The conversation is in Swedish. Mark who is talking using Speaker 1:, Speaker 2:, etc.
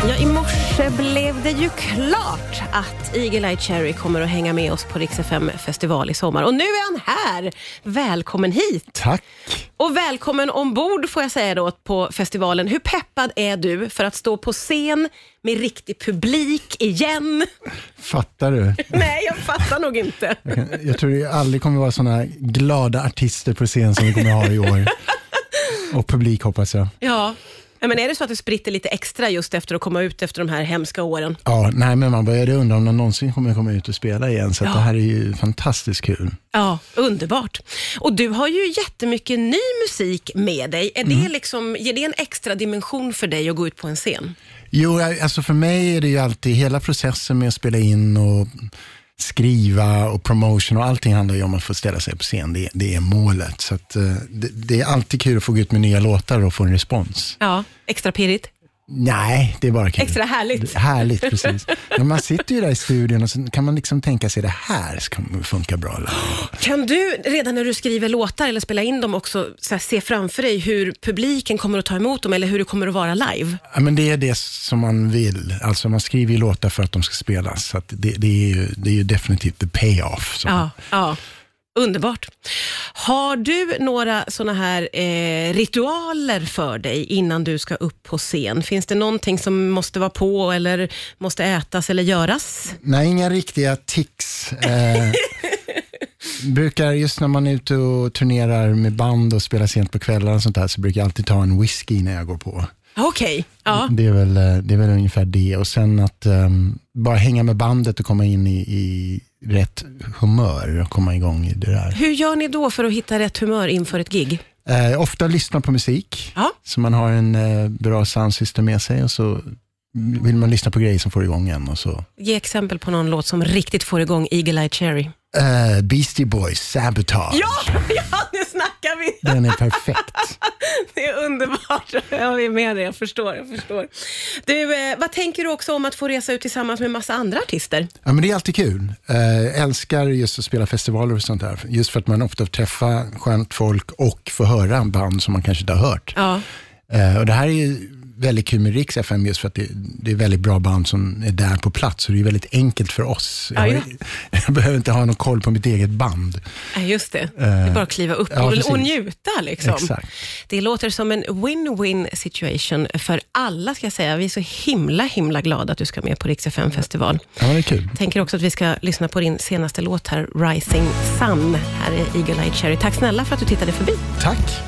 Speaker 1: Ja, I morse blev det ju klart att Eagle Eye Cherry kommer att hänga med oss på Rix FM festival i sommar. Och nu är han här! Välkommen hit!
Speaker 2: Tack!
Speaker 1: Och välkommen ombord får jag säga då på festivalen. Hur peppad är du för att stå på scen med riktig publik igen?
Speaker 2: Fattar du?
Speaker 1: Nej, jag fattar nog inte.
Speaker 2: Jag tror det aldrig kommer vara sådana glada artister på scen som vi kommer ha i år. Och publik hoppas jag.
Speaker 1: Ja. Ja, Men är det så att det spritter lite extra just efter att komma ut efter de här hemska åren?
Speaker 2: Ja, nej men man började undra om de någonsin kommer komma ut och spela igen, så att
Speaker 1: Ja.
Speaker 2: det här är ju fantastiskt kul.
Speaker 1: Ja, underbart. Och du har ju jättemycket ny musik med dig. Är det liksom, ger det en extra dimension för dig att gå ut på en scen?
Speaker 2: Jo, alltså för mig är det ju alltid hela processen med att spela in och skriva och promotion och allting handlar ju om att få ställa sig på scen. Det, det är målet. Så att, eh, det, det är alltid kul att få gå ut med nya låtar och få en respons.
Speaker 1: Ja, extra pirrigt.
Speaker 2: Nej, det är bara kul.
Speaker 1: Extra härligt.
Speaker 2: Härligt, precis. Men man sitter ju där i studion och så kan man liksom tänka sig det här kommer funka bra.
Speaker 1: Kan du redan när du skriver låtar eller spelar in dem också så här, se framför dig hur publiken kommer att ta emot dem eller hur det kommer att vara live?
Speaker 2: Ja, men det är det som man vill. Alltså man skriver ju låtar för att de ska spelas. Så att det, det, är ju, det är ju definitivt the payoff. Så.
Speaker 1: Ja, ja. Underbart. Har du några såna här eh, ritualer för dig innan du ska upp på scen? Finns det någonting som måste vara på eller måste ätas eller göras?
Speaker 2: Nej, inga riktiga tics. Eh, brukar, just när man är ute och turnerar med band och spelar sent på kvällar och sånt där, så brukar jag alltid ta en whisky när jag går på.
Speaker 1: Okej, ja.
Speaker 2: Det, är väl, eh, det är väl ungefär det. Och sen att ehm, bara hänga med bandet och komma in i, i rätt humör och komma igång i det där.
Speaker 1: Hur gör ni då för att hitta rätt humör inför ett gig?
Speaker 2: Eh, ofta lyssna på musik,
Speaker 1: Ja.
Speaker 2: så man har en eh, bra soundsystem med sig och så vill man lyssna på grejer som får igång en. Och så.
Speaker 1: Ge exempel på någon låt som riktigt får igång Eagle Eye Cherry.
Speaker 2: Eh, Beastie Boys, Sabotage.
Speaker 1: ja, nu snackar vi!
Speaker 2: Den är perfekt.
Speaker 1: Det är underbart. Jag är med dig, jag förstår. Jag förstår. Du, eh, vad tänker du också om att få resa ut tillsammans med massa andra artister?
Speaker 2: Ja, men det är alltid kul. Eh, älskar just att spela festivaler och sånt där. Just för att man ofta träffar skönt folk och får höra band som man kanske inte har hört.
Speaker 1: Ja.
Speaker 2: Eh, och det här är ju väldigt kul med Rix FM just för att det, det är väldigt bra band som är där på plats. Så det är väldigt enkelt för oss.
Speaker 1: Ja,
Speaker 2: Jag, jag behöver inte ha någon koll på mitt eget band.
Speaker 1: Nej, Just det, det är bara att kliva upp
Speaker 2: Eh, ja,
Speaker 1: och,
Speaker 2: precis.
Speaker 1: och njuta. Liksom.
Speaker 2: Exakt.
Speaker 1: Det låter som en win-win situation för alla, ska jag säga. Vi är så himla, himla glada att du ska med på Rix FM festival.
Speaker 2: Ja, men det är kul.
Speaker 1: Tänker också att vi ska lyssna på din senaste låt här, Rising Sun. Här är Eagle Eye Cherry. Tack snälla för att du tittade förbi.
Speaker 2: Tack.